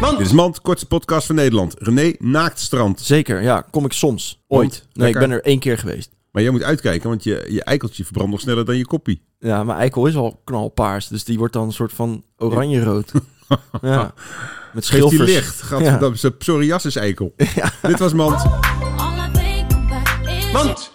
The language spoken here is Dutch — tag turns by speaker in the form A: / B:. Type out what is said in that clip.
A: Mand.
B: Dit is Mand, kortste podcast van Nederland. René, naaktstrand.
A: Zeker, ja. Kom ik soms.
B: Want,
A: Ooit. Nee, ik
B: lekker.
A: ben er één keer geweest.
B: Maar jij moet uitkijken, want je, je eikeltje verbrandt nog sneller dan je koppie.
A: Ja, maar eikel is al knalpaars. Dus die wordt dan een soort van oranje-rood. ja. Met
B: Geeft die
A: schilfers.
B: licht. Gaat
A: Ja.
B: dat is een psoriasis eikel. Dit was Mand.
C: All I think about is you.
A: Mand.